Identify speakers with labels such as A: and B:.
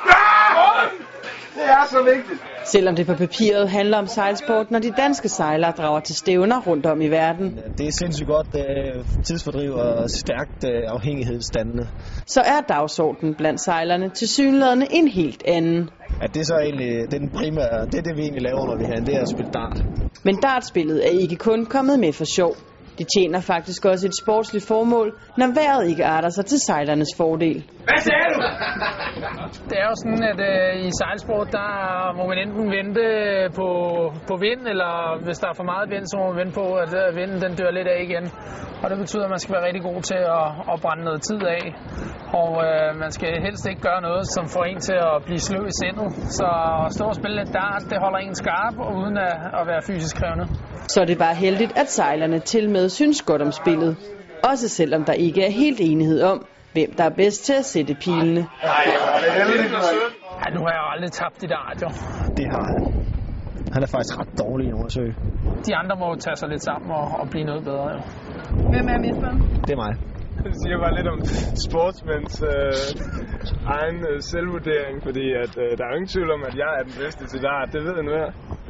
A: Ah! Det er så vigtigt.
B: Selvom det på papiret handler om sejlsport, når de danske sejlere drager til stævner rundt om i verden,
C: Det er sindssygt godt øh, tidsfordriv og stærkt øh, afhængighedsdannende.
B: så er dagsordenen blandt sejlerne til synlædende en helt anden.
C: At det så egentlig det er den primære, det er det vi egentlig laver, når vi har det er at spille dart.
B: Men dartspillet er ikke kun kommet med for sjov. Det tjener faktisk også et sportsligt formål, når vejret ikke arter sig til sejlernes fordel.
A: Hvad sagde du?
D: Det er jo sådan, at øh, i sejlsport, der må man enten vente på, på vind, eller hvis der er for meget vind, så må man vente på, at øh, vinden den dør lidt af igen. Og det betyder, at man skal være rigtig god til at, at brænde noget tid af. Og øh, man skal helst ikke gøre noget, som får en til at blive sløv i sindet. Så at stå og spille lidt dart, det holder en skarp, og uden at, at være fysisk krævende.
B: Så er det bare heldigt, at sejlerne til med synes godt om spillet. Også selvom der ikke er helt enighed om, hvem der er bedst til at sætte pilene.
A: Nej, hvor er det heldigt, mand.
D: Ja, nu har jeg jo aldrig tabt i dart, jo.
C: Det har han. Han er faktisk ret dårlig i Nordsø.
D: De andre må jo tage sig lidt sammen og, og blive noget bedre, jo.
C: Det er mig.
E: Det siger bare lidt om sportsmænds øh, egen øh, selvvurdering, fordi at, øh, der er jo ingen tvivl om, at jeg er den bedste til dart. Det ved jeg nu her.